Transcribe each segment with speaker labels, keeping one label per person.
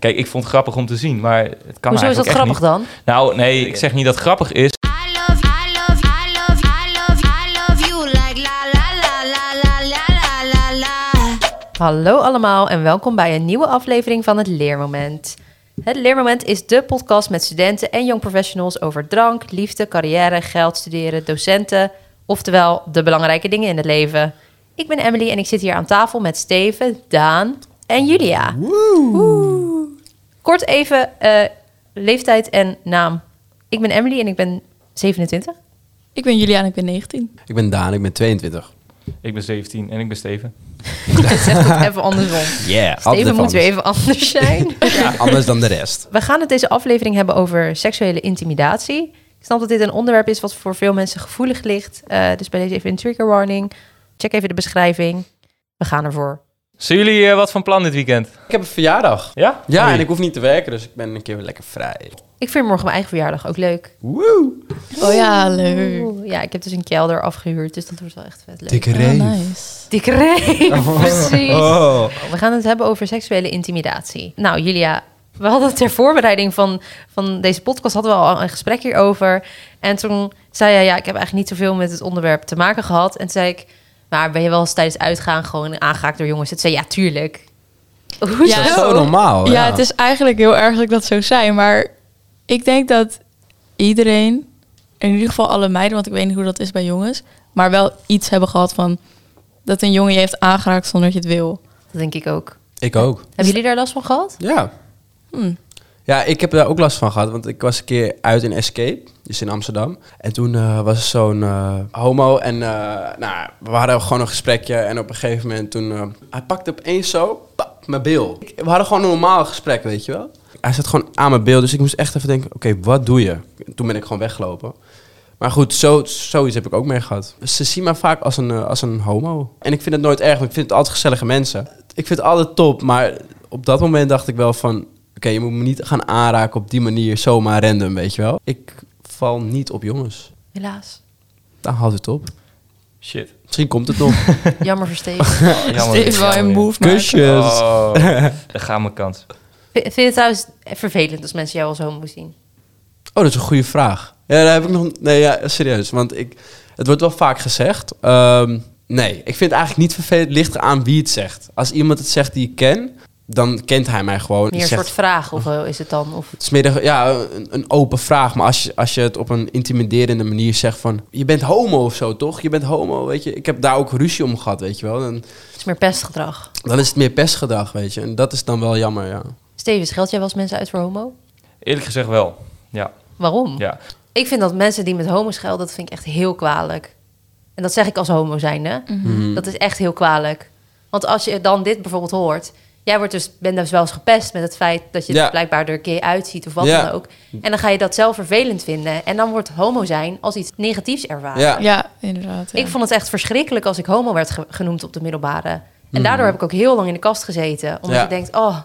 Speaker 1: Kijk, ik vond het grappig om te zien, maar het kan
Speaker 2: Hoezo
Speaker 1: eigenlijk
Speaker 2: is dat
Speaker 1: echt
Speaker 2: grappig
Speaker 1: niet.
Speaker 2: dan?
Speaker 1: Nou, nee, ik zeg niet dat het grappig is.
Speaker 3: I love, I love, I love, I love, I love you like la la la la la la la la la.
Speaker 2: Hallo allemaal en welkom bij een nieuwe aflevering van het Leermoment. Het Leermoment is de podcast met studenten en young professionals over drank, liefde, carrière, geld, studeren, docenten, oftewel de belangrijke dingen in het leven. Ik ben Emily en ik zit hier aan tafel met Steven, Daan en Julia. Woe. Kort even eh, leeftijd en naam. Ik ben Emily en ik ben 27.
Speaker 4: Ik ben Julian, ik ben 19.
Speaker 5: Ik ben Daan, ik ben 22.
Speaker 1: Ik ben 17 en ik ben Steven.
Speaker 2: Ik zeg het even andersom.
Speaker 5: Yeah,
Speaker 2: Steven moet weer even anders zijn.
Speaker 5: Anders dan de rest.
Speaker 2: We gaan het deze aflevering hebben over seksuele intimidatie. Ik snap dat dit een onderwerp is wat voor veel mensen gevoelig ligt. Eh, dus bij deze even een trigger warning. Check even de beschrijving. We gaan ervoor.
Speaker 1: Zijn jullie eh, wat van plan dit weekend?
Speaker 5: Ik heb een verjaardag.
Speaker 1: Ja?
Speaker 5: Ja,
Speaker 1: Oei.
Speaker 5: en ik hoef niet te werken, dus ik ben een keer weer lekker vrij.
Speaker 2: Ik vind morgen mijn eigen verjaardag ook leuk.
Speaker 5: Woe!
Speaker 4: Oh ja, leuk.
Speaker 2: Oeh, ja, ik heb dus een kelder afgehuurd, dus dat wordt wel echt vet leuk.
Speaker 5: Dikke
Speaker 4: Oh, nice.
Speaker 2: Dikke reet, precies.
Speaker 5: Oh.
Speaker 2: We gaan het hebben over seksuele intimidatie. Nou, Julia, we hadden ter voorbereiding van, van deze podcast hadden we al een gesprek hierover. En toen zei jij, ja, ik heb eigenlijk niet zoveel met het onderwerp te maken gehad. En toen zei ik, maar ben je wel eens tijdens uitgaan gewoon aangehaakt door jongens? Het zei, ja, tuurlijk. Hoezo?
Speaker 4: Ja,
Speaker 5: Dat is zo normaal.
Speaker 4: Ja, het is eigenlijk heel erg dat ik dat zo zei, maar ik denk dat iedereen, in ieder geval alle meiden, want ik weet niet hoe dat is bij jongens, maar wel iets hebben gehad van dat een jongen je heeft aangeraakt zonder dat je het wil.
Speaker 2: Dat denk ik ook.
Speaker 5: Ik ook.
Speaker 2: Hebben jullie daar last van gehad?
Speaker 5: Ja. Ja, ik heb daar ook last van gehad, want ik was een keer uit in Escape, dus in Amsterdam. En toen eh, was er zo'n eh, homo en eh, nou, we hadden gewoon een gesprekje en op een gegeven moment toen... eh, hij pakte opeens zo, pap, mijn bil. Ik- We hadden gewoon een normaal gesprek, weet je wel. Hij zat gewoon aan mijn bil, dus ik moest echt even denken, oké, wat doe je? Toen ben ik gewoon weggelopen. Maar goed, zo, zoiets heb ik ook mee gehad. Ze zien mij vaak als een, eh, als een homo. En ik vind het nooit erg, want ik vind het altijd gezellige mensen. Ik vind het altijd top, maar op dat moment dacht ik wel van... Oké, je moet me niet gaan aanraken op die manier, zomaar random, weet je wel. Ik val niet op jongens.
Speaker 2: Helaas.
Speaker 5: Daar houdt het op.
Speaker 1: Shit.
Speaker 5: Misschien komt het nog.
Speaker 2: Jammer versteken.
Speaker 1: Oh, jammer.
Speaker 4: dus dit is wel een move maken.
Speaker 5: Kusjes.
Speaker 1: Oh, daar gaat mijn kans.
Speaker 2: V- Vind je het trouwens vervelend als mensen jou als homo zien?
Speaker 5: Oh, dat is een goede vraag. Ja, daar heb ik nog. Nee, ja, serieus. Want ik, het wordt wel vaak gezegd. Ehm, nee, ik vind het eigenlijk niet vervelend. Ligt eraan wie het zegt. Als iemand het zegt die ik ken, dan kent hij mij gewoon.
Speaker 2: Meer
Speaker 5: Die
Speaker 2: een
Speaker 5: zegt,
Speaker 2: soort vraag of eh, is het dan? Of...
Speaker 5: het is meer de- ja, een, een open vraag. Maar als je, als je het op een intimiderende manier zegt van... Je bent homo of zo, toch? Je bent homo, weet je. Ik heb daar ook ruzie om gehad, weet je wel. En
Speaker 2: Het is meer pestgedrag.
Speaker 5: dan is het meer pestgedrag, weet je. En dat is dan wel jammer, ja.
Speaker 2: Steven, scheld jij wel eens mensen uit voor homo?
Speaker 1: Eerlijk gezegd wel. Ja,
Speaker 2: Waarom?
Speaker 1: ja.
Speaker 2: Ik vind dat mensen die met homo schelden, dat vind ik echt heel kwalijk. En dat zeg ik als homo zijnde.
Speaker 5: Mhm.
Speaker 2: Dat is echt heel kwalijk. Want als je dan dit bijvoorbeeld hoort... Jij wordt dus, bent dus wel eens gepest met het feit dat je
Speaker 5: Ja.
Speaker 2: er blijkbaar er gay uitziet of wat
Speaker 5: Ja.
Speaker 2: dan ook. En dan ga je dat zelf vervelend vinden. En dan wordt homo zijn als iets negatiefs ervaren.
Speaker 5: Ja.
Speaker 4: Ja, inderdaad. ja.
Speaker 2: Ik vond het echt verschrikkelijk als ik homo werd ge- genoemd op de middelbare. En daardoor heb ik ook heel lang in de kast gezeten. Omdat
Speaker 5: Mhm. Ja.
Speaker 2: je denkt, oh,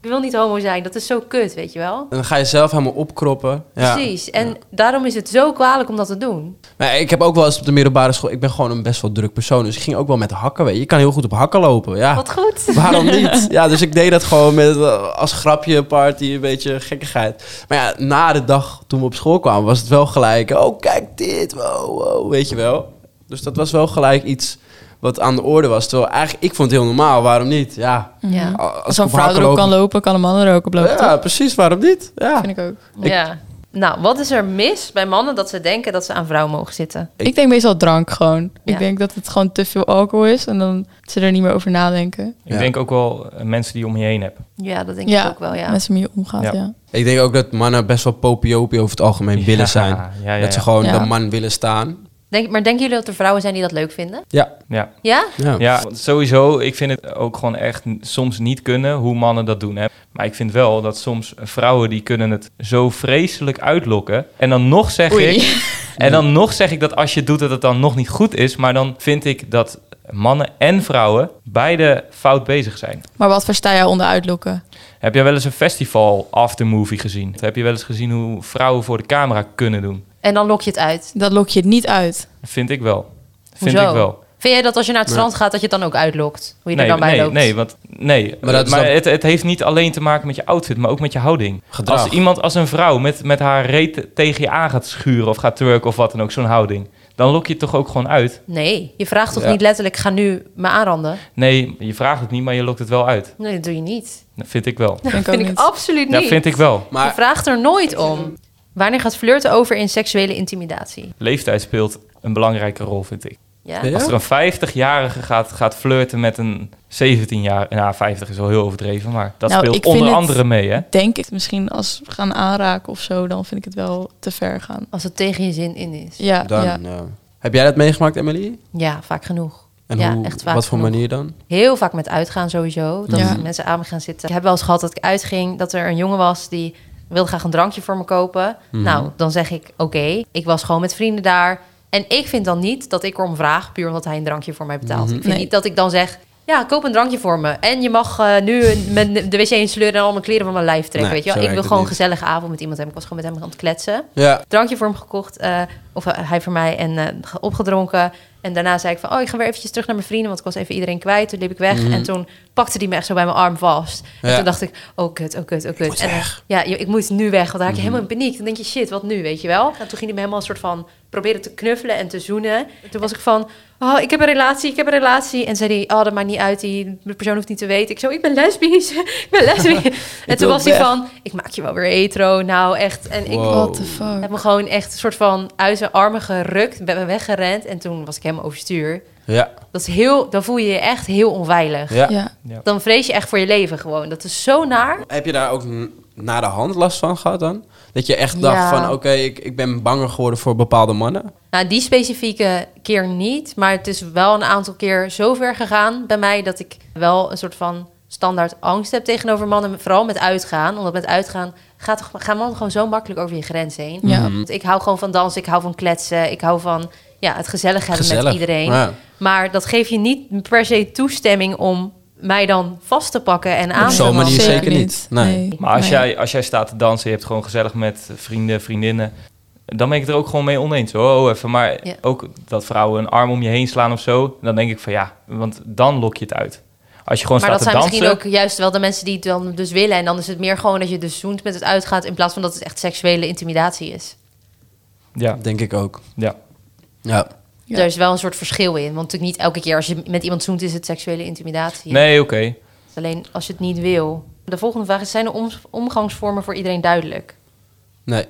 Speaker 2: ik wil niet homo zijn. Dat is zo kut, weet je wel?
Speaker 5: En dan ga je zelf helemaal opkroppen. Ja.
Speaker 2: Precies. En daarom is het zo kwalijk om dat te doen.
Speaker 5: Maar ik heb ook wel eens op de middelbare school... Ik ben gewoon een best wel druk persoon. Dus ik ging ook wel met hakken. Weet je. je kan heel goed op hakken lopen.
Speaker 1: Ah.
Speaker 5: Ja.
Speaker 2: Wat goed.
Speaker 5: Waarom niet? Ja, dus ik deed dat gewoon met, eh, als grapje, party, een beetje gekkigheid. Maar ja, na de dag toen we op school kwamen... was het wel gelijk... Oh, kijk dit. Wow, wow. Weet je wel. Dus dat was wel gelijk iets wat aan de orde was. Terwijl eigenlijk, ik vond het heel normaal. Waarom niet? Ja.
Speaker 2: Ja.
Speaker 5: A-
Speaker 4: Als
Speaker 5: ik
Speaker 4: een
Speaker 5: op
Speaker 4: vrouw
Speaker 5: hakken
Speaker 4: erop
Speaker 5: loop-
Speaker 4: kan lopen, kan een man er ook op lopen.
Speaker 5: Ja,
Speaker 4: toch?
Speaker 5: precies. Waarom niet? Ja.
Speaker 4: Vind ik ook.
Speaker 2: ja. Nou, wat is er mis bij mannen dat ze denken dat ze aan vrouwen mogen zitten?
Speaker 4: Ik, denk meestal drank gewoon.
Speaker 2: Ja.
Speaker 4: Ik denk dat het gewoon te veel alcohol is en dan ze er niet meer over nadenken.
Speaker 1: Ik
Speaker 5: Ja.
Speaker 1: denk ook wel eh, mensen die je om je heen hebt.
Speaker 2: Ja, dat denk ik ook wel, ja.
Speaker 4: Met z'n mee omgaat,
Speaker 1: Ja.
Speaker 4: ja.
Speaker 5: Ik denk ook dat mannen best wel popiopie over het algemeen
Speaker 1: Ja,
Speaker 5: willen zijn.
Speaker 1: ja, ja,
Speaker 5: dat ze
Speaker 1: ja.
Speaker 5: gewoon
Speaker 4: Ja.
Speaker 5: de man willen staan.
Speaker 2: Denk, maar denken jullie dat er vrouwen zijn die dat leuk vinden?
Speaker 5: Ja.
Speaker 1: Ja.
Speaker 2: Ja?
Speaker 5: Ja.
Speaker 1: Ja, want sowieso. Ik vind het ook gewoon echt n- soms niet kunnen hoe mannen dat doen. Hè. Maar ik vind wel dat soms vrouwen die kunnen het zo vreselijk uitlokken. En dan nog zeg
Speaker 4: Oei.
Speaker 1: ik... En dan nog zeg ik dat als je het doet dat het dan nog niet goed is. Maar dan vind ik dat mannen en vrouwen beide fout bezig zijn.
Speaker 4: Maar wat versta jij onder uitlokken?
Speaker 1: Heb jij wel eens een festival aftermovie gezien? Heb je wel eens gezien hoe vrouwen voor de camera kunnen doen?
Speaker 2: En dan lok je het uit.
Speaker 4: Dat lok je het niet uit.
Speaker 1: Vind ik wel. Vind
Speaker 2: Hoezo?
Speaker 1: ik wel.
Speaker 2: Vind jij dat als je naar het strand gaat, dat je het dan ook uitlokt? Hoe je
Speaker 1: nee,
Speaker 2: er dan bij
Speaker 1: nee,
Speaker 2: loopt?
Speaker 1: nee, want nee.
Speaker 5: Maar
Speaker 1: Maar,
Speaker 5: dat is dan-
Speaker 1: het, het heeft niet alleen te maken met je outfit, maar ook met je houding.
Speaker 5: Gedrag.
Speaker 1: Als iemand, als een vrouw met, met haar reet tegen je aan gaat schuren of gaat twerken of wat dan ook, zo'n houding, dan lok je het toch ook gewoon uit.
Speaker 2: Nee, je vraagt toch
Speaker 5: Ja.
Speaker 2: niet letterlijk, ga nu me aanranden?
Speaker 1: Nee, je vraagt het niet, maar je lokt het wel uit.
Speaker 2: Nee, dat doe je niet.
Speaker 1: Dat vind ik wel.
Speaker 4: Vind ik
Speaker 2: Dat
Speaker 4: ook
Speaker 2: vind ik
Speaker 4: niet.
Speaker 2: absoluut niet.
Speaker 1: Dat vind ik wel.
Speaker 2: Je
Speaker 5: Maar
Speaker 2: vraagt er nooit om. Wanneer gaat flirten over in seksuele intimidatie?
Speaker 1: Leeftijd speelt een belangrijke rol, vind ik.
Speaker 2: Ja.
Speaker 5: Ja?
Speaker 1: Als er een 50-jarige gaat, gaat flirten met een 17-jarige... Nou, 50 is wel heel overdreven, maar dat
Speaker 4: Nou, ik
Speaker 1: speelt
Speaker 4: vind
Speaker 1: onder
Speaker 4: het-
Speaker 1: andere mee, hè?
Speaker 4: Denk ik misschien als we gaan aanraken of zo, dan vind ik het wel te ver gaan.
Speaker 2: Als het tegen je zin in is.
Speaker 4: Ja,
Speaker 5: dan,
Speaker 4: ja.
Speaker 5: ja. Heb jij dat meegemaakt, Emily?
Speaker 2: Ja, vaak genoeg.
Speaker 5: En
Speaker 2: ja,
Speaker 5: hoe,
Speaker 2: echt vaak
Speaker 5: wat voor
Speaker 2: genoeg.
Speaker 5: manier dan?
Speaker 2: Heel vaak met uitgaan sowieso. Dat
Speaker 4: Ja.
Speaker 2: mensen aan me gaan zitten. Ik heb wel eens gehad dat ik uitging, dat er een jongen was die wilde graag een drankje voor me kopen.
Speaker 5: Mhm.
Speaker 2: Nou, dan zeg ik oké, ik was gewoon met vrienden daar. En ik vind dan niet dat ik erom vraag, puur omdat hij een drankje voor mij betaalt.
Speaker 5: Mhm.
Speaker 2: Ik vind
Speaker 4: Nee.
Speaker 2: niet dat ik dan zeg, ja, koop een drankje voor me. En je mag eh, nu een- mijn, de wc insleuren en al mijn kleren van mijn lijf trekken.
Speaker 5: Nee,
Speaker 2: weet je wel?
Speaker 5: zo
Speaker 2: Ik wil
Speaker 5: werkt het
Speaker 2: gewoon een
Speaker 5: niet.
Speaker 2: gezellige avond met iemand hebben. Ik was gewoon met hem aan het kletsen
Speaker 5: Ja,
Speaker 2: drankje voor hem gekocht. eh, of hij voor mij en eh, ge- opgedronken. En daarna zei ik van, oh, ik ga weer eventjes terug naar mijn vrienden. Want ik was even iedereen kwijt. Toen liep ik weg. En toen pakte hij me echt zo bij mijn arm vast. En
Speaker 5: Mhm. Ja.
Speaker 2: toen dacht ik, oh kut, oh kut, oh kut.
Speaker 5: moet
Speaker 2: en, dan-
Speaker 5: weg. Mhm.
Speaker 2: Ja, je- ik moet nu weg. Want dan raak je helemaal in paniek. Dan denk je, shit, wat nu, weet je wel? En toen ging hij me helemaal een soort van proberen te knuffelen en te zoenen. En toen was ik van, oh, ik heb een relatie, ik heb een relatie. En zei hij, oh, dat maakt niet uit. Die persoon hoeft niet te weten. Ik zo, ik ben lesbisch. ik ben lesbisch. en toen
Speaker 5: wil
Speaker 2: was hij
Speaker 5: weg.
Speaker 2: van, ik maak je wel weer hetero. Nou, echt. En ik,
Speaker 5: Wow.
Speaker 4: What the
Speaker 2: ik heb
Speaker 4: fuck.
Speaker 2: me gewoon echt een soort van uit zijn armen gerukt. Ben me weggerend en toen was ik helemaal overstuur.
Speaker 5: ja,
Speaker 2: Dat is heel, dan voel je je echt heel onveilig.
Speaker 5: ja.
Speaker 4: Ja.
Speaker 2: Dan vrees je echt voor je leven gewoon. Dat is zo naar.
Speaker 5: Heb je daar ook n- na de hand last van gehad dan? Dat je echt dacht
Speaker 2: Ja.
Speaker 5: van, oké, ik, ik ben banger geworden voor bepaalde mannen?
Speaker 2: Nou, die specifieke keer niet. Maar het is wel een aantal keer zo ver gegaan bij mij... dat ik wel een soort van standaard angst heb tegenover mannen. Vooral met uitgaan. Omdat met uitgaan gaat, gaan mannen gewoon zo makkelijk over je grens heen.
Speaker 4: Ja.
Speaker 5: Mhm.
Speaker 2: Want ik hou gewoon van dansen, ik hou van kletsen. Ik hou van ja, het gezellig hebben met
Speaker 5: Gezellig.
Speaker 2: iedereen.
Speaker 5: Ja.
Speaker 2: Maar dat geeft je niet per se toestemming om mij dan vast te pakken en aan
Speaker 5: Op
Speaker 2: te
Speaker 5: zo'n manier
Speaker 2: randen.
Speaker 5: zeker niet. Nee.
Speaker 1: Maar als,
Speaker 4: Nee.
Speaker 1: jij, als jij staat te dansen, je hebt gewoon gezellig met vrienden, vriendinnen... dan ben ik het er ook gewoon mee oneens. hoor. Oh, even. Maar
Speaker 2: Ja.
Speaker 1: ook dat vrouwen een arm om je heen slaan of zo... dan denk ik van ja, want dan lok je het uit. Als je gewoon
Speaker 2: Maar dat
Speaker 1: staat
Speaker 2: zijn
Speaker 1: te
Speaker 2: misschien
Speaker 1: dansen...
Speaker 2: ook juist wel de mensen die het dan dus willen. En dan is het meer gewoon dat je dus zoent met het uitgaat... in plaats van dat het echt seksuele intimidatie is.
Speaker 1: Ja,
Speaker 5: Denk ik ook.
Speaker 1: ja.
Speaker 5: Ja.
Speaker 4: Ja.
Speaker 2: Er is wel een soort verschil in. Want natuurlijk niet elke keer als je met iemand zoent... is het seksuele intimidatie.
Speaker 1: Nee, oké.
Speaker 2: Het is Alleen als je het niet wil. De volgende vraag is... zijn de om- omgangsvormen voor iedereen duidelijk?
Speaker 5: Nee.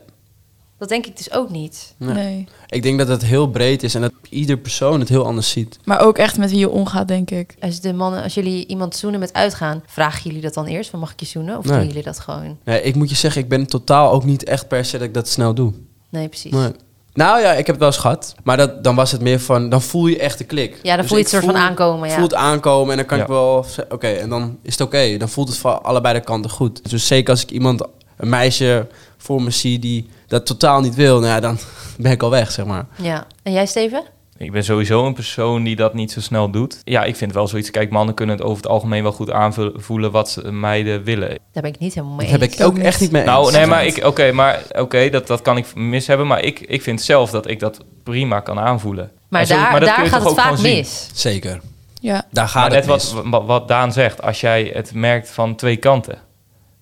Speaker 2: Dat denk ik dus ook niet.
Speaker 5: Nee.
Speaker 4: Nee.
Speaker 5: Ik denk dat het heel breed is en dat ieder persoon het heel anders ziet.
Speaker 4: Maar ook echt met wie je omgaat, denk ik.
Speaker 2: Als, de mannen, als jullie iemand zoenen met uitgaan, vragen jullie dat dan eerst? Van mag ik je zoenen? Of
Speaker 5: Nee.
Speaker 2: doen jullie dat gewoon?
Speaker 5: Nee, ik moet je zeggen, ik ben totaal ook niet echt per se dat ik dat snel doe.
Speaker 2: Nee, precies.
Speaker 5: Nee. Nou ja, ik heb het wel eens gehad. Maar dat, dan was het meer van, dan voel je echt de klik. Dus
Speaker 2: Ja, dan voel je
Speaker 5: ik
Speaker 2: het soort van aankomen, ja.
Speaker 5: voel het aankomen en dan kan
Speaker 1: Ja.
Speaker 5: ik wel... ze- Oké, en dan is het oké. Dan voelt het van allebei de kanten goed. Dus zeker als ik iemand, een meisje voor me zie die dat totaal niet wil... Nou ja, dan ben ik al weg, zeg maar.
Speaker 2: Ja. En jij, Steven?
Speaker 1: Ik ben sowieso een persoon die dat niet zo snel doet. Ja, ik vind wel zoiets. Kijk, mannen kunnen het over het algemeen wel goed aanvoelen wat ze- meiden willen.
Speaker 2: Daar ben ik niet helemaal mee
Speaker 5: Heb
Speaker 2: eens.
Speaker 5: ik ook echt niet mee eens.
Speaker 1: Nou, nee, maar ik, oké, maar oké, dat, dat kan ik mis hebben. Maar ik, ik vind zelf dat ik dat prima kan aanvoelen.
Speaker 2: Maar
Speaker 1: En zo-
Speaker 2: daar,
Speaker 1: dat kun
Speaker 2: daar
Speaker 1: je
Speaker 2: gaat
Speaker 1: toch
Speaker 2: het
Speaker 1: ook
Speaker 2: vaak
Speaker 1: gewoon zien?
Speaker 2: mis.
Speaker 5: Zeker.
Speaker 4: Ja.
Speaker 5: Daar
Speaker 1: Maar
Speaker 5: gaat
Speaker 1: net
Speaker 5: het
Speaker 1: wat,
Speaker 5: mis.
Speaker 1: wa- wat Daan zegt, als jij het merkt van twee kanten.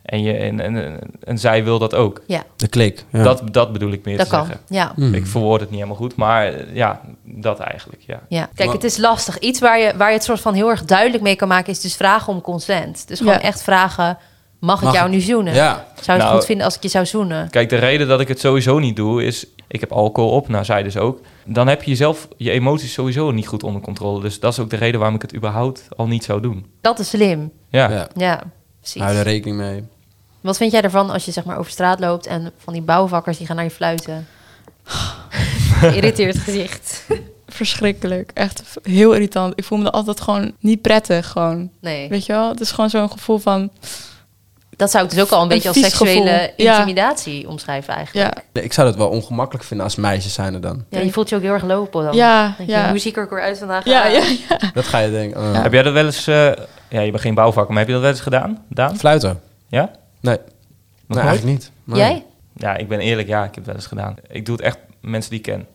Speaker 1: En, je, en, en, en zij wil dat ook.
Speaker 2: Ja,
Speaker 5: De klik. Ja.
Speaker 1: Dat, dat bedoel ik meer
Speaker 2: dat
Speaker 1: te
Speaker 2: kan.
Speaker 1: zeggen.
Speaker 2: Ja.
Speaker 1: Ik verwoord het niet helemaal goed, maar eh, ja, dat eigenlijk, ja.
Speaker 2: Ja. Kijk,
Speaker 5: Maar-
Speaker 2: het is lastig. Iets waar je, waar je het soort van heel erg duidelijk mee kan maken... is dus vragen om consent. Dus gewoon
Speaker 4: Ja.
Speaker 2: echt vragen... mag ik
Speaker 5: Mag
Speaker 2: jou
Speaker 5: ik?
Speaker 2: nu zoenen?
Speaker 5: Ja.
Speaker 2: Zou je het
Speaker 1: Nou,
Speaker 2: goed vinden als ik je zou zoenen?
Speaker 1: Kijk, de reden dat ik het sowieso niet doe is... Ik heb alcohol op, nou zij dus ook. Dan heb je jezelf, je emoties sowieso niet goed onder controle. Dus dat is ook de reden waarom ik het überhaupt al niet zou doen.
Speaker 2: Dat is slim.
Speaker 1: Ja,
Speaker 5: Ja.
Speaker 2: Ja, precies.
Speaker 5: Hou er rekening mee.
Speaker 2: Wat vind jij ervan als je zeg maar over straat loopt en van die bouwvakkers die gaan naar je fluiten? Irriteerd gezicht.
Speaker 4: Verschrikkelijk. Echt v- heel irritant. Ik voel me er altijd gewoon niet prettig. Gewoon.
Speaker 2: Nee,
Speaker 4: Weet je wel? Het is gewoon zo'n gevoel van...
Speaker 2: dat zou ik dus ook al een, beetje als
Speaker 4: vies
Speaker 2: seksuele
Speaker 4: gevoel. Ja.
Speaker 2: intimidatie omschrijven eigenlijk.
Speaker 4: Ja.
Speaker 5: Nee, Ik zou het wel ongemakkelijk vinden als meisjes zijn er dan.
Speaker 2: Ja. je voelt je ook heel erg lopen dan.
Speaker 4: Ja,
Speaker 2: Denk je,
Speaker 4: ja.
Speaker 2: Hoe zie ik er ook weer uit vandaag?
Speaker 4: Ja,
Speaker 2: Ah,
Speaker 4: ja, ja.
Speaker 5: Dat ga je denken. eh,
Speaker 1: Heb jij dat wel eens... eh, ja, je bent geen bouwvakker, maar heb je dat wel eens gedaan, Daan?
Speaker 5: Fluiten?
Speaker 1: Ja?
Speaker 5: Nee.
Speaker 1: Nog
Speaker 5: nee,
Speaker 1: nooit?
Speaker 5: eigenlijk niet. Nee.
Speaker 2: Jij?
Speaker 1: Ja, ik ben eerlijk, ja, ik heb het wel eens gedaan. Ik doe het echt met mensen die ik ken.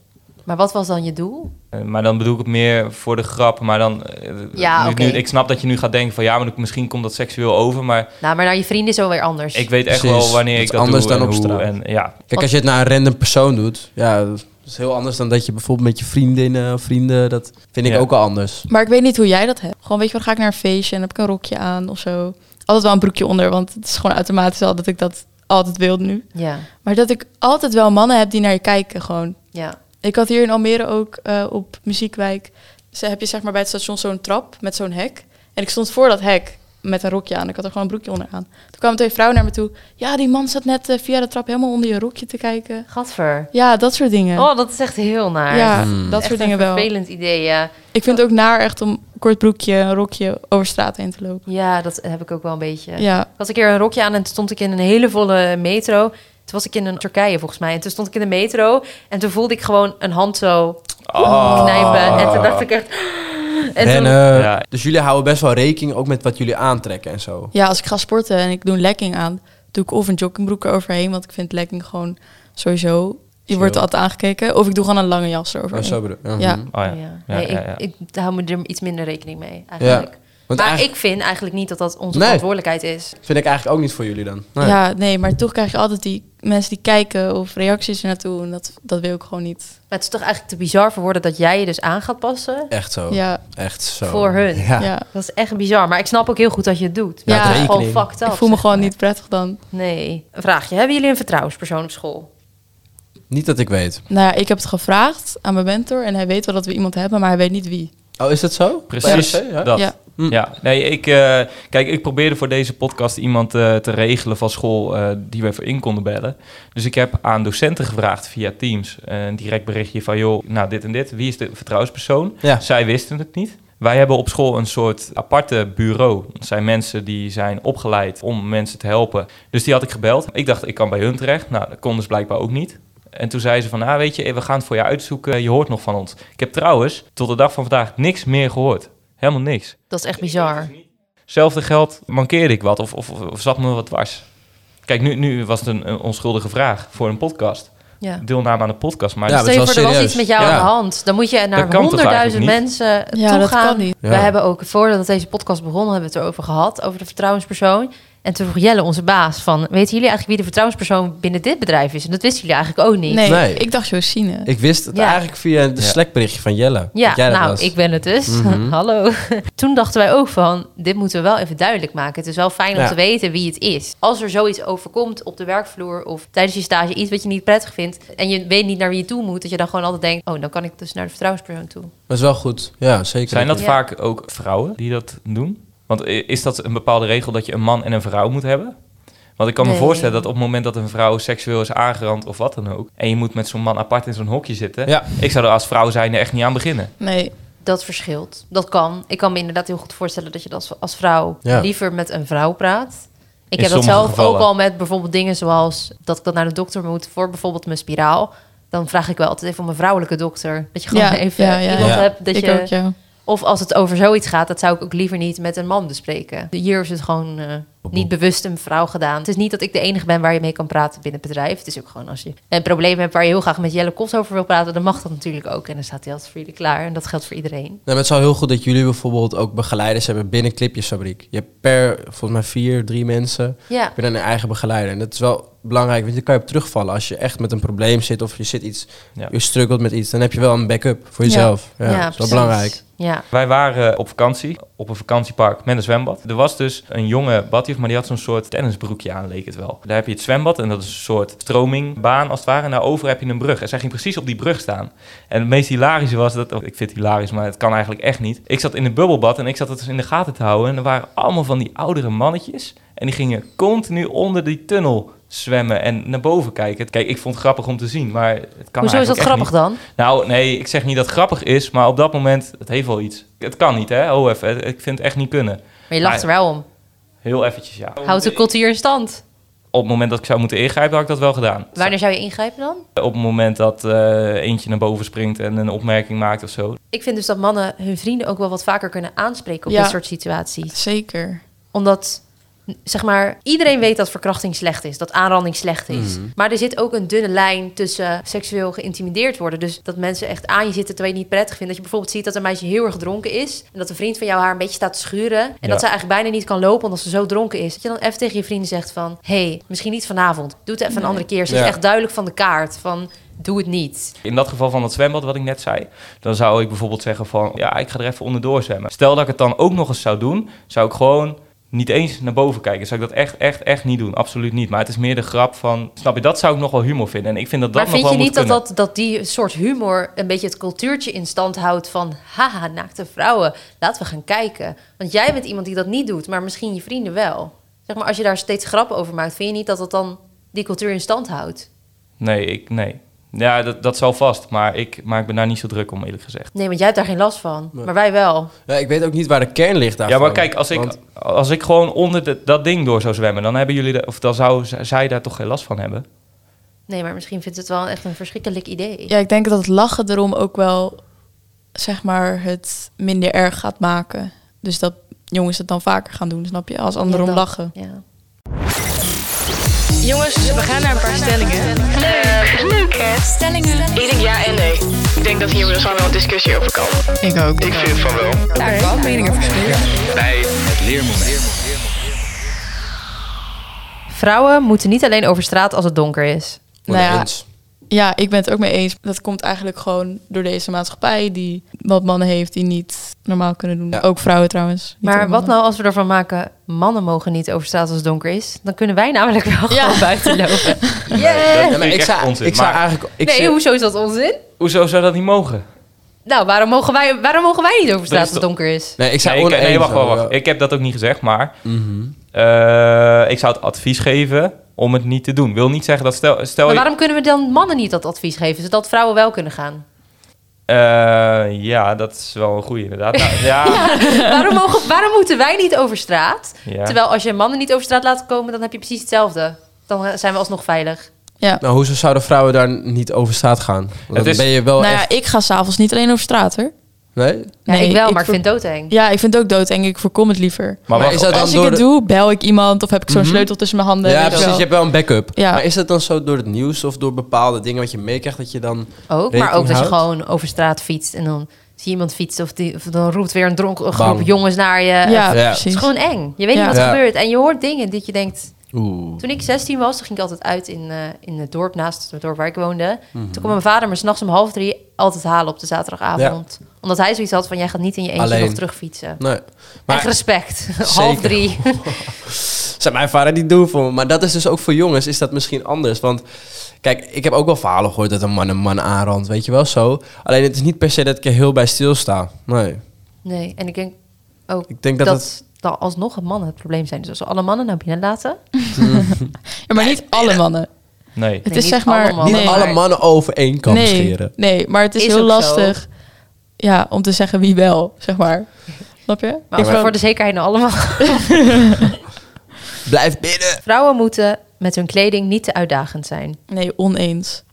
Speaker 2: Maar wat was dan je doel?
Speaker 1: Eh, Maar dan bedoel ik het meer voor de grap. Maar dan. eh,
Speaker 2: Ja,
Speaker 1: nu,
Speaker 2: oké.
Speaker 1: nu- ik snap dat je nu gaat denken van ja, maar dan- misschien komt dat seksueel over. Maar
Speaker 2: Nou, maar naar je vrienden is wel weer anders.
Speaker 1: ik weet echt
Speaker 5: Precies,
Speaker 1: wel wanneer
Speaker 5: dat
Speaker 1: ik dat
Speaker 5: anders
Speaker 1: doe
Speaker 5: dan
Speaker 1: en
Speaker 5: op
Speaker 1: hoe
Speaker 5: straat.
Speaker 1: En ja,
Speaker 5: Kijk, als je het naar een random persoon doet, ja, dat is heel anders dan dat je bijvoorbeeld met je vriendinnen of vrienden, dat vind ik
Speaker 1: Ja.
Speaker 5: ook al anders.
Speaker 4: Maar ik weet niet hoe jij dat hebt. Gewoon, weet je wel, ga ik naar een feestje en heb ik een rokje aan of zo. Altijd wel een broekje onder, want het is gewoon automatisch al dat ik dat altijd wilde nu.
Speaker 2: Ja,
Speaker 4: Maar dat ik altijd wel mannen heb die naar je kijken, gewoon.
Speaker 2: ja.
Speaker 4: Ik had hier in Almere ook eh, op Muziekwijk. Ze heb je zeg maar bij het station zo'n trap met zo'n hek. En ik stond voor dat hek met een rokje aan. Ik had er gewoon een broekje onder aan. Toen kwamen twee vrouwen naar me toe. Ja, die man zat net eh, via de trap helemaal onder je rokje te kijken.
Speaker 2: Gadver.
Speaker 4: Ja, dat soort dingen.
Speaker 2: Oh, dat is echt heel naar.
Speaker 4: ja,
Speaker 5: Hmm.
Speaker 4: dat
Speaker 2: Echt
Speaker 4: soort
Speaker 2: een
Speaker 4: dingen wel.
Speaker 2: vervelend idee, ja.
Speaker 4: Ik vind het ook naar echt om een kort broekje, een rokje over straat heen te lopen.
Speaker 2: Ja, dat heb ik ook wel een beetje.
Speaker 4: Ja,
Speaker 2: Ik had een keer een rokje aan en toen stond ik in een hele volle metro. Toen was ik in een Turkije volgens mij. En toen stond ik in de metro en toen voelde ik gewoon een hand zo
Speaker 1: Ah.
Speaker 2: knijpen. En toen dacht ik echt... En
Speaker 5: En,
Speaker 2: toen-
Speaker 5: eh,
Speaker 1: Ja.
Speaker 5: Dus jullie houden best wel rekening ook met wat jullie aantrekken en zo.
Speaker 4: ja, als ik ga sporten en ik doe een legging aan, doe ik of een joggingbroek eroverheen. Want ik vind legging gewoon sowieso, je wordt
Speaker 5: Chill.
Speaker 4: altijd aangekeken. Of ik doe gewoon een lange jas
Speaker 5: Oh,
Speaker 4: eroverheen.
Speaker 5: zo bedoel ja.
Speaker 4: Ja.
Speaker 5: mhm.
Speaker 1: Oh ja.
Speaker 2: ja.
Speaker 1: Ja,
Speaker 2: Nee,
Speaker 1: ja,
Speaker 2: ik,
Speaker 1: ja.
Speaker 2: ik hou me er iets minder rekening mee eigenlijk.
Speaker 5: Want
Speaker 2: maar
Speaker 5: eigenlijk
Speaker 2: ik vind eigenlijk niet dat dat onze
Speaker 5: Nee.
Speaker 2: verantwoordelijkheid is.
Speaker 5: vind ik eigenlijk ook niet voor jullie dan. Nee.
Speaker 4: Ja, nee, maar toch krijg je altijd die mensen die kijken of reacties ernaartoe. En dat, dat wil ik gewoon niet.
Speaker 2: Maar het is toch eigenlijk te bizar voor woorden dat jij je dus aan gaat passen
Speaker 5: Echt zo.
Speaker 4: Ja,
Speaker 5: Echt zo.
Speaker 2: voor hun.
Speaker 5: Ja.
Speaker 4: ja.
Speaker 2: Dat is echt bizar. Maar ik snap ook heel goed dat je het doet.
Speaker 4: Ja,
Speaker 2: het is gewoon
Speaker 5: rekening.
Speaker 2: fucked up.
Speaker 4: ik voel me
Speaker 2: zeg
Speaker 4: gewoon
Speaker 2: maar.
Speaker 4: niet prettig dan.
Speaker 2: Nee. Een vraagje. Hebben jullie een vertrouwenspersoon op school?
Speaker 5: Niet dat ik weet.
Speaker 4: Nou ja, ik heb het gevraagd aan mijn mentor en hij weet wel dat we iemand hebben, maar hij weet niet wie.
Speaker 5: Oh, is dat zo?
Speaker 1: Precies
Speaker 5: Bij RSC, ja?
Speaker 1: dat.
Speaker 4: Ja.
Speaker 1: Ja.
Speaker 5: Hm.
Speaker 1: nee, ik, eh, kijk, ik probeerde voor deze podcast iemand eh, te regelen van school eh, die wij voor in konden bellen. Dus ik heb aan docenten gevraagd via Teams eh, een direct berichtje van, joh, nou dit en dit, wie is de vertrouwenspersoon?
Speaker 5: Ja.
Speaker 1: Zij wisten het niet. Wij hebben op school een soort aparte bureau. Dat zijn mensen die zijn opgeleid om mensen te helpen. Dus die had ik gebeld. Ik dacht, ik kan bij hun terecht. Nou, dat kon dus blijkbaar ook niet. En toen zei ze van, ah, weet je, we gaan het voor je uitzoeken. Je hoort nog van ons. Ik heb trouwens tot de dag van vandaag niks meer gehoord. Helemaal niks.
Speaker 2: Dat is echt bizar.
Speaker 1: Hetzelfde geld mankeerde ik wat of, of, of zat me wat dwars. Kijk, nu, nu was het een, een onschuldige vraag voor een podcast.
Speaker 2: Ja.
Speaker 1: Deelname aan een podcast. Maar
Speaker 5: Ja,
Speaker 1: dat-
Speaker 2: Stel je
Speaker 5: wel
Speaker 2: voor, er was
Speaker 5: serieus.
Speaker 2: iets met jou
Speaker 1: Ja.
Speaker 2: aan de hand. Dan moet je
Speaker 1: kan
Speaker 2: naar
Speaker 1: toch
Speaker 2: honderdduizend
Speaker 1: eigenlijk niet?
Speaker 2: mensen toe
Speaker 4: Ja,
Speaker 2: gaan.
Speaker 4: dat kan niet.
Speaker 5: Ja.
Speaker 2: We hebben ook, voordat deze podcast begon, hebben we het erover gehad, over de vertrouwenspersoon. En toen vroeg Jelle, onze baas, van, weten jullie eigenlijk wie de vertrouwenspersoon binnen dit bedrijf is? En dat wisten jullie eigenlijk ook niet.
Speaker 4: Nee,
Speaker 5: Nee.
Speaker 4: ik dacht Josine.
Speaker 5: Ik wist het
Speaker 2: Ja.
Speaker 5: eigenlijk via een
Speaker 1: Ja.
Speaker 5: Slack-berichtje van Jelle.
Speaker 2: Ja,
Speaker 5: dat jij dat
Speaker 2: nou,
Speaker 5: was.
Speaker 2: ik ben het dus.
Speaker 5: Mhm.
Speaker 2: Hallo. Toen dachten wij ook van, dit moeten we wel even duidelijk maken. Het is wel fijn om
Speaker 5: Ja.
Speaker 2: te weten wie het is. Als er zoiets overkomt op de werkvloer of tijdens je stage iets wat je niet prettig vindt en je weet niet naar wie je toe moet, dat je dan gewoon altijd denkt, oh, dan kan ik dus naar de vertrouwenspersoon toe.
Speaker 5: Dat is wel goed. Ja, zeker.
Speaker 1: Zijn dat
Speaker 2: Ja.
Speaker 1: vaak ook vrouwen die dat doen? Want i- is dat een bepaalde regel dat je een man en een vrouw moet hebben? Want ik kan
Speaker 2: Nee.
Speaker 1: me voorstellen dat op het moment dat een vrouw seksueel is aangerand of wat dan ook... en je moet met zo'n man apart in zo'n hokje zitten...
Speaker 5: Ja.
Speaker 1: ik zou er als vrouw zijn echt niet aan beginnen.
Speaker 4: Nee,
Speaker 2: Dat verschilt. Dat kan. Ik kan me inderdaad heel goed voorstellen dat je dat als vrouw
Speaker 5: Ja.
Speaker 2: liever met een vrouw praat. Ik
Speaker 1: In
Speaker 2: heb dat
Speaker 1: sommige
Speaker 2: zelf
Speaker 1: gevallen.
Speaker 2: ook al met bijvoorbeeld dingen zoals dat ik dan naar de dokter moet voor bijvoorbeeld mijn spiraal. Dan vraag ik wel altijd even om een vrouwelijke dokter. Dat je gewoon
Speaker 4: Ja,
Speaker 2: even
Speaker 4: ja, ja,
Speaker 2: iemand
Speaker 5: ja.
Speaker 2: hebt. Dat
Speaker 4: ik
Speaker 2: je,
Speaker 4: ook, ja.
Speaker 2: Of als het over zoiets gaat, dat zou ik ook liever niet met een man bespreken. Hier is het gewoon eh, niet bewust een vrouw gedaan. Het is niet dat ik de enige ben waar je mee kan praten binnen het bedrijf. Het is ook gewoon als je een probleem hebt waar je heel graag met Jelle Kos over wil praten, dan mag dat natuurlijk ook. En dan staat hij altijd voor jullie klaar. En dat geldt voor iedereen.
Speaker 5: Nee, maar het is wel heel goed dat jullie bijvoorbeeld ook begeleiders hebben binnen Clipjesfabriek. Je hebt per, volgens mij, vier, drie mensen
Speaker 2: Ja,
Speaker 5: binnen een eigen begeleider. En dat is wel belangrijk, want je kan je op terugvallen. Als je echt met een probleem zit of je zit iets,
Speaker 1: Ja.
Speaker 5: je struggelt met iets, dan heb je wel een backup voor
Speaker 4: Ja.
Speaker 5: jezelf. Ja,
Speaker 2: ja,
Speaker 5: dat is wel
Speaker 2: precies.
Speaker 5: belangrijk.
Speaker 2: Ja,
Speaker 1: Wij waren op vakantie, op een vakantiepark met een zwembad. Er was dus een jonge badjuf, maar die had zo'n soort tennisbroekje aan, leek het wel. Daar heb je het zwembad en dat is een soort stromingbaan als het ware. En daarover heb je een brug. En zij ging precies op die brug staan. En het meest hilarische was dat, oh, ik vind het hilarisch, maar het kan eigenlijk echt niet. Ik zat in een bubbelbad en ik zat het dus in de gaten te houden. En er waren allemaal van die oudere mannetjes. En die gingen continu onder die tunnel zwemmen en naar boven kijken. Kijk, ik vond het grappig om te zien, maar het kan
Speaker 2: hoezo
Speaker 1: eigenlijk
Speaker 2: is dat
Speaker 1: echt
Speaker 2: grappig
Speaker 1: niet.
Speaker 2: dan?
Speaker 1: Nou, nee, ik zeg niet dat het grappig is, maar op dat moment, het heeft wel iets. Het kan niet, hè? Oh, even, ik vind het echt niet kunnen.
Speaker 2: Maar je lacht er
Speaker 1: Maar-
Speaker 2: wel om.
Speaker 1: Heel eventjes, ja.
Speaker 2: Houdt de cultuur in stand.
Speaker 1: Op het moment dat ik zou moeten ingrijpen, had ik dat wel gedaan.
Speaker 2: Wanneer zou je ingrijpen dan?
Speaker 1: Op het moment dat eh, eentje naar boven springt en een opmerking maakt of zo.
Speaker 2: Ik vind dus dat mannen hun vrienden ook wel wat vaker kunnen aanspreken op
Speaker 4: Ja.
Speaker 2: dit soort situaties.
Speaker 4: Zeker.
Speaker 2: Omdat zeg maar, iedereen weet dat verkrachting slecht is, dat aanranding slecht is. Maar er zit ook een dunne lijn tussen seksueel geïntimideerd worden. Dus dat mensen echt aan je zitten terwijl je het niet prettig vindt. Dat je bijvoorbeeld ziet dat een meisje heel erg dronken is. En dat een vriend van jou haar een beetje staat te schuren. En
Speaker 1: Ja.
Speaker 2: dat ze eigenlijk bijna niet kan lopen omdat ze zo dronken is. Dat je dan even tegen je vrienden zegt van, hé, hey, misschien niet vanavond. Doe het even een andere keer. Ze is
Speaker 5: Ja.
Speaker 2: echt duidelijk van de kaart van, doe het niet.
Speaker 1: In dat geval van dat zwembad wat ik net zei, dan zou ik bijvoorbeeld zeggen van, ja, ik ga er even onderdoor zwemmen. Stel dat ik het dan ook nog eens zou doen, zou ik gewoon niet eens naar boven kijken. Zou ik dat echt, echt, echt niet doen? Absoluut niet. Maar het is meer de grap van, snap je, dat zou ik nog wel humor vinden. En ik vind dat dat
Speaker 2: maar vind
Speaker 1: nog
Speaker 2: je
Speaker 1: wel
Speaker 2: niet
Speaker 1: moet
Speaker 2: dat,
Speaker 1: kunnen.
Speaker 2: dat, dat die soort humor een beetje het cultuurtje in stand houdt van... haha, naakte vrouwen, laten we gaan kijken. Want jij bent iemand die dat niet doet, maar misschien je vrienden wel. Zeg maar, als je daar steeds grappen over maakt, vind je niet dat dat dan die cultuur in stand houdt?
Speaker 1: Nee, ik, nee. Ja, dat, dat zal vast. Maar ik, maar ik ben daar niet zo druk om, eerlijk gezegd.
Speaker 2: Nee, want jij hebt daar geen last van, maar wij wel.
Speaker 5: Ja, ik weet ook niet waar de kern ligt daarvan.
Speaker 1: Ja, maar kijk, als ik,
Speaker 5: Want-
Speaker 1: als ik gewoon onder de- dat ding door zou zwemmen, dan hebben jullie, de, of dan zou z- zij daar toch geen last van hebben?
Speaker 2: Nee, maar misschien vindt het wel echt een verschrikkelijk idee.
Speaker 4: Ja, ik denk dat het lachen erom ook wel, zeg maar, het minder erg gaat maken. Dus dat jongens het dan vaker gaan doen, snap je? Als anderen
Speaker 2: dat.
Speaker 4: om lachen.
Speaker 2: Ja.
Speaker 6: Jongens, we gaan naar een paar stellingen. Leuk, leuk hè? Stellingen. Ik denk ja en nee. Ik denk dat hier dus wel wat discussie over kan.
Speaker 4: Ik ook.
Speaker 7: Ik vind van wel.
Speaker 6: Daar kan meningen verschillen.
Speaker 7: Bij het leermoment.
Speaker 2: Vrouwen moeten niet alleen over straat als het donker is.
Speaker 5: Worden
Speaker 4: Nou ja.
Speaker 5: eens.
Speaker 4: Ja, ik ben het ook mee eens. Dat komt eigenlijk gewoon door deze maatschappij die wat mannen heeft die niet normaal kunnen doen.
Speaker 5: Ja.
Speaker 4: Ook vrouwen trouwens. niet
Speaker 2: Maar
Speaker 4: alleen
Speaker 2: wat
Speaker 4: mannen.
Speaker 2: nou als we ervan maken, mannen mogen niet over straat als het donker is? Dan kunnen wij namelijk wel
Speaker 4: Ja.
Speaker 2: gewoon buiten lopen.
Speaker 1: Dat
Speaker 5: Ja,
Speaker 1: vind
Speaker 5: maar ik
Speaker 1: echt
Speaker 5: zou,
Speaker 1: onzin,
Speaker 5: ik zou
Speaker 1: maar-
Speaker 5: eigenlijk... Ik
Speaker 2: Nee,
Speaker 5: zou-
Speaker 2: hoezo is dat onzin?
Speaker 1: Hoezo zou dat niet mogen?
Speaker 2: Nou, waarom mogen wij, waarom mogen wij niet over straat als
Speaker 1: is
Speaker 2: het
Speaker 1: toch-
Speaker 2: donker is?
Speaker 5: Nee, ik zou
Speaker 1: nee, ik-
Speaker 5: oneens
Speaker 1: nee, wacht,
Speaker 5: zijn,
Speaker 1: wacht, wacht.
Speaker 5: ja.
Speaker 1: Ik heb dat ook niet gezegd, maar eh, ik zou het advies geven om het niet te doen. Wil niet zeggen dat stel, stel
Speaker 2: Maar
Speaker 1: je-
Speaker 2: waarom kunnen we dan mannen niet dat advies geven, zodat vrouwen wel kunnen gaan?
Speaker 1: Eh, ja, dat is wel een goede inderdaad. Nou, ja,
Speaker 2: waarom, mogen, waarom moeten wij niet over straat?
Speaker 1: Ja.
Speaker 2: Terwijl als je mannen niet over straat laat komen, dan heb je precies hetzelfde. Dan eh, zijn we alsnog veilig.
Speaker 4: Ja.
Speaker 5: Nou, hoezo zouden vrouwen daar niet over straat gaan? Want
Speaker 1: Het
Speaker 5: dan
Speaker 1: is-
Speaker 5: ben je wel
Speaker 4: nou ja,
Speaker 5: echt...
Speaker 4: ik ga s'avonds niet alleen over straat hoor.
Speaker 5: Nee?
Speaker 2: Ja,
Speaker 4: Nee,
Speaker 2: ik wel,
Speaker 4: ik
Speaker 2: maar ik
Speaker 4: ver-
Speaker 2: vind het doodeng.
Speaker 4: Ja, ik vind het ook dood en ik voorkom het liever.
Speaker 1: maar
Speaker 5: Maar
Speaker 1: wacht,
Speaker 5: is dat dan
Speaker 4: Als ik
Speaker 5: door
Speaker 4: het
Speaker 5: de- Mhm.
Speaker 4: doe, bel ik iemand of heb ik zo'n sleutel tussen mijn handen.
Speaker 5: Ja,
Speaker 4: weet je
Speaker 5: precies.
Speaker 4: wel.
Speaker 5: Je hebt wel een backup.
Speaker 4: Ja.
Speaker 5: Maar is dat dan zo door het nieuws of door bepaalde dingen wat je meekrijgt dat je dan...
Speaker 2: Ook, maar
Speaker 5: rekening
Speaker 2: ook dat je
Speaker 5: houdt?
Speaker 2: gewoon over straat fietst en dan zie je iemand fietsen of, die, of dan roept weer een dronken een groep
Speaker 5: Bang.
Speaker 2: jongens naar je.
Speaker 4: Ja,
Speaker 5: Ja.
Speaker 2: Het
Speaker 4: precies.
Speaker 2: is gewoon eng. Je weet
Speaker 4: Ja.
Speaker 2: niet wat
Speaker 5: Ja.
Speaker 2: er gebeurt. En je hoort dingen dat je denkt,
Speaker 5: Oeh.
Speaker 2: Toen ik 16 was, toen ging ik altijd uit in, eh, in het dorp naast het dorp waar ik woonde.
Speaker 5: Mhm.
Speaker 2: Toen kwam mijn vader me s'nachts om half drie altijd halen op de zaterdagavond. Omdat hij zoiets had van, jij gaat niet in je eentje
Speaker 5: Alleen.
Speaker 2: nog terugfietsen.
Speaker 5: Nee.
Speaker 2: Echt
Speaker 5: Maar
Speaker 2: respect. half drie.
Speaker 5: zijn mijn vader die doen voor me. Maar dat is dus ook voor jongens, is dat misschien anders. Want kijk, ik heb ook wel verhalen gehoord dat een man een man aanrandt, weet je wel zo. Alleen het is niet per se dat ik er heel bij stilsta. Nee.
Speaker 2: Nee, en ik denk ook
Speaker 5: Ik denk
Speaker 2: dat,
Speaker 5: dat
Speaker 2: dan alsnog een mannen het probleem zijn. Dus als we alle mannen naar binnen laten...
Speaker 4: Ja, maar niet alle mannen.
Speaker 1: nee.
Speaker 4: Het
Speaker 2: Nee,
Speaker 4: is
Speaker 2: niet
Speaker 4: zeg maar...
Speaker 2: alle mannen,
Speaker 5: Niet
Speaker 4: Oh, nee.
Speaker 5: alle mannen over één kam
Speaker 4: nee,
Speaker 5: scheren.
Speaker 4: Nee, maar het is,
Speaker 2: Is
Speaker 4: heel
Speaker 2: ook zo.
Speaker 4: lastig ja, om te zeggen wie wel, zeg maar. Snap je?
Speaker 2: Maar als we voor de zekerheid nou allemaal...
Speaker 5: Blijf binnen.
Speaker 2: Vrouwen moeten met hun kleding niet te uitdagend zijn.
Speaker 4: Nee, oneens.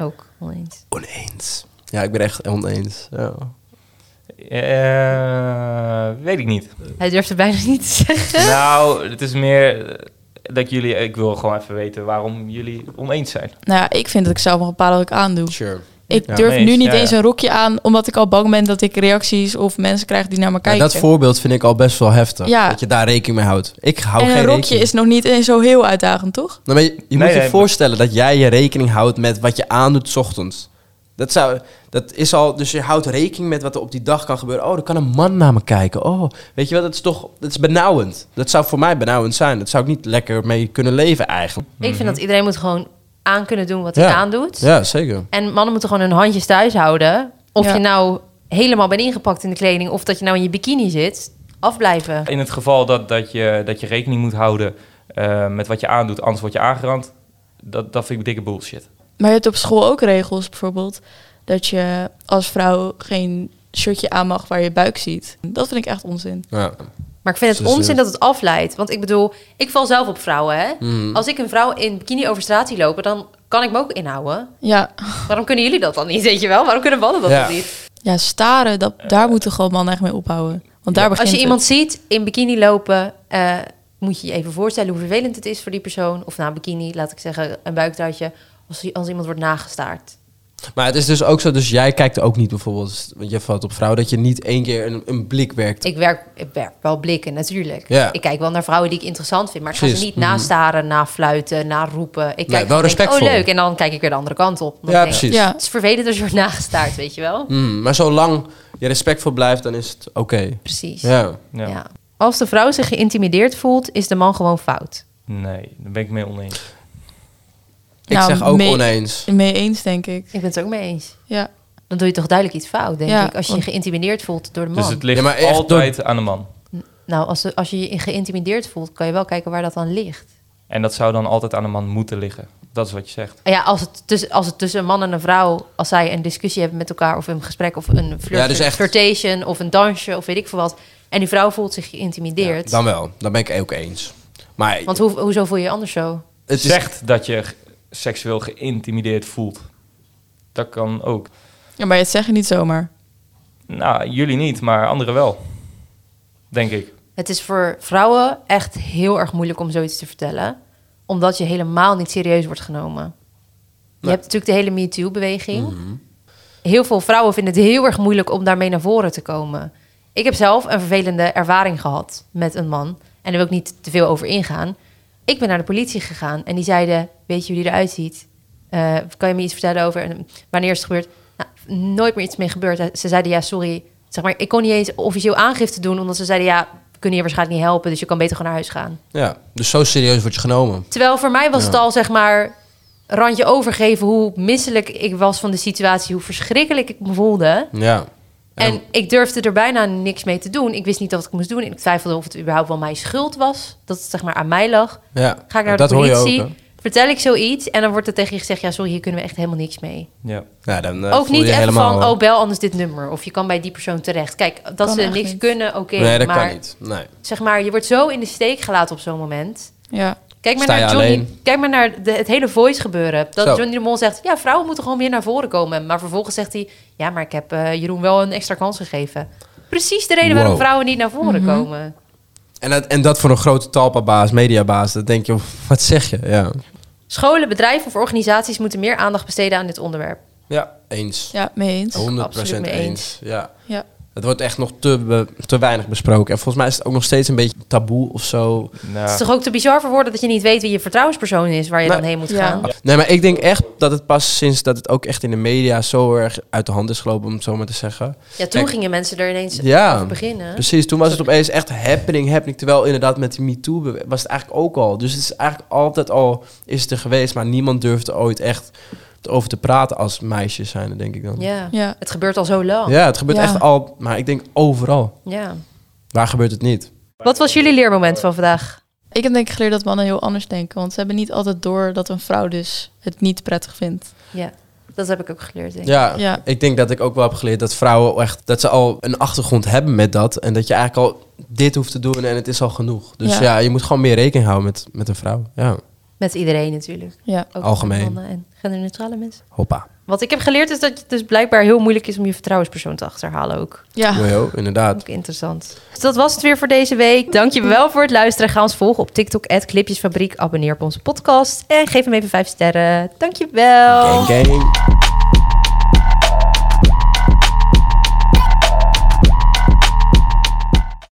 Speaker 2: Ook oneens.
Speaker 5: Oneens. Ja, ik ben echt oneens. Ja.
Speaker 1: Eh, weet ik niet.
Speaker 2: Hij durft het bijna niet te zeggen.
Speaker 1: Nou, het is meer eh, dat jullie... Ik wil gewoon even weten waarom jullie oneens zijn.
Speaker 4: Nou ja, ik vind dat ik zelf mag bepalen wat ik aandoe.
Speaker 5: Sure.
Speaker 4: Ik
Speaker 1: Ja,
Speaker 4: durf
Speaker 1: mee eens.
Speaker 4: nu niet
Speaker 1: Ja, ja.
Speaker 4: eens een rokje aan, omdat ik al bang ben dat ik reacties of mensen krijg die naar me
Speaker 5: Maar
Speaker 4: kijken.
Speaker 5: dat voorbeeld vind ik al best wel heftig.
Speaker 4: Ja.
Speaker 5: Dat je daar rekening mee houdt. Ik hou
Speaker 4: en
Speaker 5: geen
Speaker 4: een rokje
Speaker 5: rekening.
Speaker 4: is nog niet eens zo heel uitdagend, toch?
Speaker 5: Nou, maar je je moet je
Speaker 1: nee,
Speaker 5: voorstellen dat jij je rekening houdt met wat je aandoet 's ochtends. Dat, zou, dat is al, dus je houdt rekening met wat er op die dag kan gebeuren. Oh, er kan een man naar me kijken. Oh, weet je wel, dat is toch dat is benauwend. Dat zou voor mij benauwend zijn. Dat zou ik niet lekker mee kunnen leven eigenlijk.
Speaker 2: Ik vind dat iedereen moet gewoon aan kunnen doen wat hij
Speaker 5: Mhm. Ja.
Speaker 2: aandoet.
Speaker 5: Ja, zeker.
Speaker 2: En mannen moeten gewoon hun handjes thuis houden. Of
Speaker 4: Ja.
Speaker 2: je nou helemaal bent ingepakt in de kleding... of dat je nou in je bikini zit, afblijven.
Speaker 1: In het geval dat, dat, je, dat je rekening moet houden eh, met wat je aandoet, anders word je aangerand. Dat, dat vind ik dikke bullshit.
Speaker 4: Maar je hebt op school ook regels, bijvoorbeeld, dat je als vrouw geen shirtje aan mag waar je buik ziet. Dat vind ik echt onzin.
Speaker 5: Ja.
Speaker 2: Maar ik vind het
Speaker 5: Dus, eh,
Speaker 2: onzin dat het afleidt. Want ik bedoel, ik val zelf op vrouwen, hè? Als ik een vrouw in bikini over straat zie lopen... dan kan ik me ook inhouden.
Speaker 4: Ja,
Speaker 2: Waarom kunnen jullie dat dan niet, weet je wel? Waarom kunnen mannen dat
Speaker 5: Ja.
Speaker 2: dan niet?
Speaker 4: ja staren,
Speaker 5: Eh.
Speaker 4: dat, daar moeten gewoon mannen echt mee ophouden. Want daar begint
Speaker 2: Als je
Speaker 4: het.
Speaker 2: iemand ziet in bikini lopen... eh, moet je je even voorstellen hoe vervelend het is voor die persoon. Of na een bikini, laat ik zeggen, een buiktuitje. Als, als iemand wordt nagestaard.
Speaker 5: Maar het is dus ook zo, dus jij kijkt ook niet bijvoorbeeld, want je valt op vrouwen, dat je niet één keer een, een blik werkt.
Speaker 2: Ik werk, ik werk wel blikken, natuurlijk.
Speaker 5: Ja.
Speaker 2: Ik kijk wel naar vrouwen die ik interessant vind. Maar ik ga ze
Speaker 5: Precies. Mhm.
Speaker 2: niet nastaren, nafluiten, naroepen. Ik kijk
Speaker 5: wel
Speaker 2: en denk,
Speaker 5: respectvol.
Speaker 2: oh, leuk. En dan kijk ik weer de andere kant op. omdat
Speaker 5: ja,
Speaker 2: ik denk,
Speaker 5: precies.
Speaker 4: Ja.
Speaker 2: Het is vervelend als je wordt nagestaard, weet je wel?
Speaker 5: Mm, maar zolang je respectvol blijft, dan is het oké.
Speaker 2: Precies.
Speaker 5: Ja.
Speaker 2: Ja.
Speaker 1: Ja.
Speaker 2: Als de vrouw zich geïntimideerd voelt, is de man gewoon fout.
Speaker 1: Nee, daar ben ik mee oneens.
Speaker 5: Ik
Speaker 4: Nou,
Speaker 5: zeg ook
Speaker 4: mee-
Speaker 5: oneens.
Speaker 4: Mee eens, denk ik.
Speaker 2: Ik ben het er ook mee eens.
Speaker 4: Ja.
Speaker 2: Dan doe je toch duidelijk iets fout, denk
Speaker 4: Ja,
Speaker 2: ik. Als je je
Speaker 4: want-
Speaker 2: geïntimideerd voelt door de man.
Speaker 1: Dus het ligt
Speaker 5: Ja, maar echt
Speaker 1: altijd aan de man.
Speaker 2: Nou, als, de- als je je geïntimideerd voelt, kan je wel kijken waar dat dan ligt.
Speaker 1: En dat zou dan altijd aan de man moeten liggen. Dat is wat je zegt.
Speaker 2: Ja, als het, tussen, als het tussen een man en een vrouw, als zij een discussie hebben met elkaar of een gesprek of een flirt,
Speaker 5: Ja, dus echt-
Speaker 2: flirtation of een dansje of weet ik veel wat. En die vrouw voelt zich geïntimideerd.
Speaker 5: Dan wel, dan ben ik ook eens. Maar
Speaker 2: Want hoe, hoezo voel je je anders zo?
Speaker 5: het is
Speaker 1: Zegt dat je g- seksueel geïntimideerd voelt. Dat kan ook.
Speaker 4: ja, maar het zeg je niet zomaar.
Speaker 1: Nou, jullie niet, maar anderen wel. Denk ik.
Speaker 2: Het is voor vrouwen echt heel erg moeilijk om zoiets te vertellen, omdat je helemaal niet serieus wordt genomen. Je hebt natuurlijk de hele MeToo-beweging. Heel veel vrouwen vinden het heel erg moeilijk om daarmee naar voren te komen. Ik heb zelf een vervelende ervaring gehad met een man. En daar wil ik niet te veel over ingaan. Ik ben naar de politie gegaan en die zeiden: Weet je hoe die eruit ziet? Eh, kan je me iets vertellen over en wanneer is het gebeurd? Nou, nooit meer iets mee gebeurd. Ze zeiden: Ja, sorry. Zeg maar, ik kon niet eens officieel aangifte doen, omdat ze zeiden: Ja, we kunnen je waarschijnlijk niet helpen, dus je kan beter gewoon naar huis gaan.
Speaker 5: Ja, dus zo serieus word je genomen.
Speaker 2: Terwijl voor mij was het al, zeg maar, randje overgeven hoe misselijk ik was van de situatie, hoe verschrikkelijk ik me voelde.
Speaker 5: Ja.
Speaker 2: En, ik durfde er bijna niks mee te doen. Ik wist niet wat ik moest doen. En ik twijfelde of het überhaupt wel mijn schuld was. Dat het zeg maar aan mij lag.
Speaker 5: ja.
Speaker 2: Ga ik naar
Speaker 5: dat
Speaker 2: de
Speaker 5: hoor je
Speaker 2: politie,
Speaker 5: ook, hè?
Speaker 2: vertel ik zoiets. En dan wordt er tegen je gezegd, ja sorry, hier kunnen we echt helemaal niks mee.
Speaker 1: Ja.
Speaker 5: Ja, dan, eh,
Speaker 2: ook
Speaker 5: voel je
Speaker 2: niet
Speaker 5: je
Speaker 2: echt
Speaker 5: helemaal,
Speaker 2: van, oh bel anders dit nummer. Of je kan bij die persoon terecht. Kijk, dat
Speaker 4: Kan
Speaker 2: ze
Speaker 4: echt
Speaker 2: niks
Speaker 4: niet.
Speaker 2: kunnen, oké.
Speaker 5: nee, dat
Speaker 2: maar
Speaker 5: kan niet. Nee.
Speaker 2: zeg maar, je wordt zo in de steek gelaten op zo'n moment.
Speaker 4: Ja.
Speaker 2: Kijk maar
Speaker 5: Sta je
Speaker 2: naar Johnny.
Speaker 5: alleen?
Speaker 2: Kijk maar naar de- het hele voice gebeuren. Dat
Speaker 5: Zo.
Speaker 2: Johnny de Mol zegt: Ja, vrouwen moeten gewoon meer naar voren komen. Maar vervolgens zegt hij: Ja, maar ik heb eh, Jeroen wel een extra kans gegeven. Precies de reden
Speaker 5: Wow.
Speaker 2: waarom vrouwen niet naar voren
Speaker 4: Mhm.
Speaker 2: komen.
Speaker 5: En dat, en dat voor een grote talpa-baas, mediabaas, dan denk je, wat zeg je? Ja,
Speaker 2: Scholen, bedrijven of organisaties moeten meer aandacht besteden aan dit onderwerp.
Speaker 5: ja eens.
Speaker 4: Ja, mee eens.
Speaker 5: 100%
Speaker 2: absoluut
Speaker 5: eens.
Speaker 2: mee eens.
Speaker 5: Ja.
Speaker 4: Ja.
Speaker 5: Het wordt echt nog te, be- te weinig besproken. En volgens mij is het ook nog steeds een beetje taboe of zo.
Speaker 1: Nou,
Speaker 2: Het is toch ook te bizar voor woorden dat je niet weet wie je vertrouwenspersoon is waar je
Speaker 5: Nee.
Speaker 2: dan heen moet
Speaker 4: Ja.
Speaker 2: gaan.
Speaker 5: Nee, maar ik denk echt dat het pas sinds dat het ook echt in de media zo erg uit de hand is gelopen, om het zo maar te zeggen.
Speaker 2: Ja, toen
Speaker 5: Kijk,
Speaker 2: gingen mensen er ineens
Speaker 5: Ja.
Speaker 2: over beginnen.
Speaker 5: Precies, toen was het opeens echt happening, happening. Terwijl inderdaad met die MeToo bewe- was het eigenlijk ook al. Dus het is eigenlijk altijd al is het er geweest, maar niemand durfde ooit echt over te praten als meisjes zijn, denk ik dan.
Speaker 2: Ja.
Speaker 4: Ja.
Speaker 2: het gebeurt al zo lang.
Speaker 5: Ja, het gebeurt
Speaker 4: Ja.
Speaker 5: echt al, maar ik denk overal.
Speaker 2: Ja.
Speaker 5: Waar gebeurt het niet?
Speaker 2: Wat was jullie leermoment van vandaag?
Speaker 4: Ik heb denk ik geleerd dat mannen heel anders denken. Want ze hebben niet altijd door dat een vrouw dus het niet prettig vindt.
Speaker 2: Ja, dat heb ik ook geleerd. Denk ik.
Speaker 5: Ja,
Speaker 4: Ja.
Speaker 5: ik denk dat ik ook wel heb geleerd dat vrouwen echt, dat ze al een achtergrond hebben met dat. En dat je eigenlijk al dit hoeft te doen en het is al genoeg. Dus
Speaker 4: Ja.
Speaker 5: ja, je moet gewoon meer rekening houden met, met een vrouw. Ja,
Speaker 2: Met iedereen natuurlijk.
Speaker 4: Ja.
Speaker 2: Ook
Speaker 5: Algemeen.
Speaker 2: mannen en genderneutrale mensen.
Speaker 5: hoppa.
Speaker 2: Wat ik heb geleerd is dat het dus blijkbaar heel moeilijk is om je vertrouwenspersoon te achterhalen ook.
Speaker 4: Ja.
Speaker 5: Jojo, inderdaad.
Speaker 2: Ook interessant. Dus dat was het weer voor deze week. Dank je wel voor het luisteren. Ga ons volgen op TikTok, Clipjesfabriek. Abonneer op onze podcast. En geef hem even vijf sterren. Dank je wel.
Speaker 5: Gang, gang.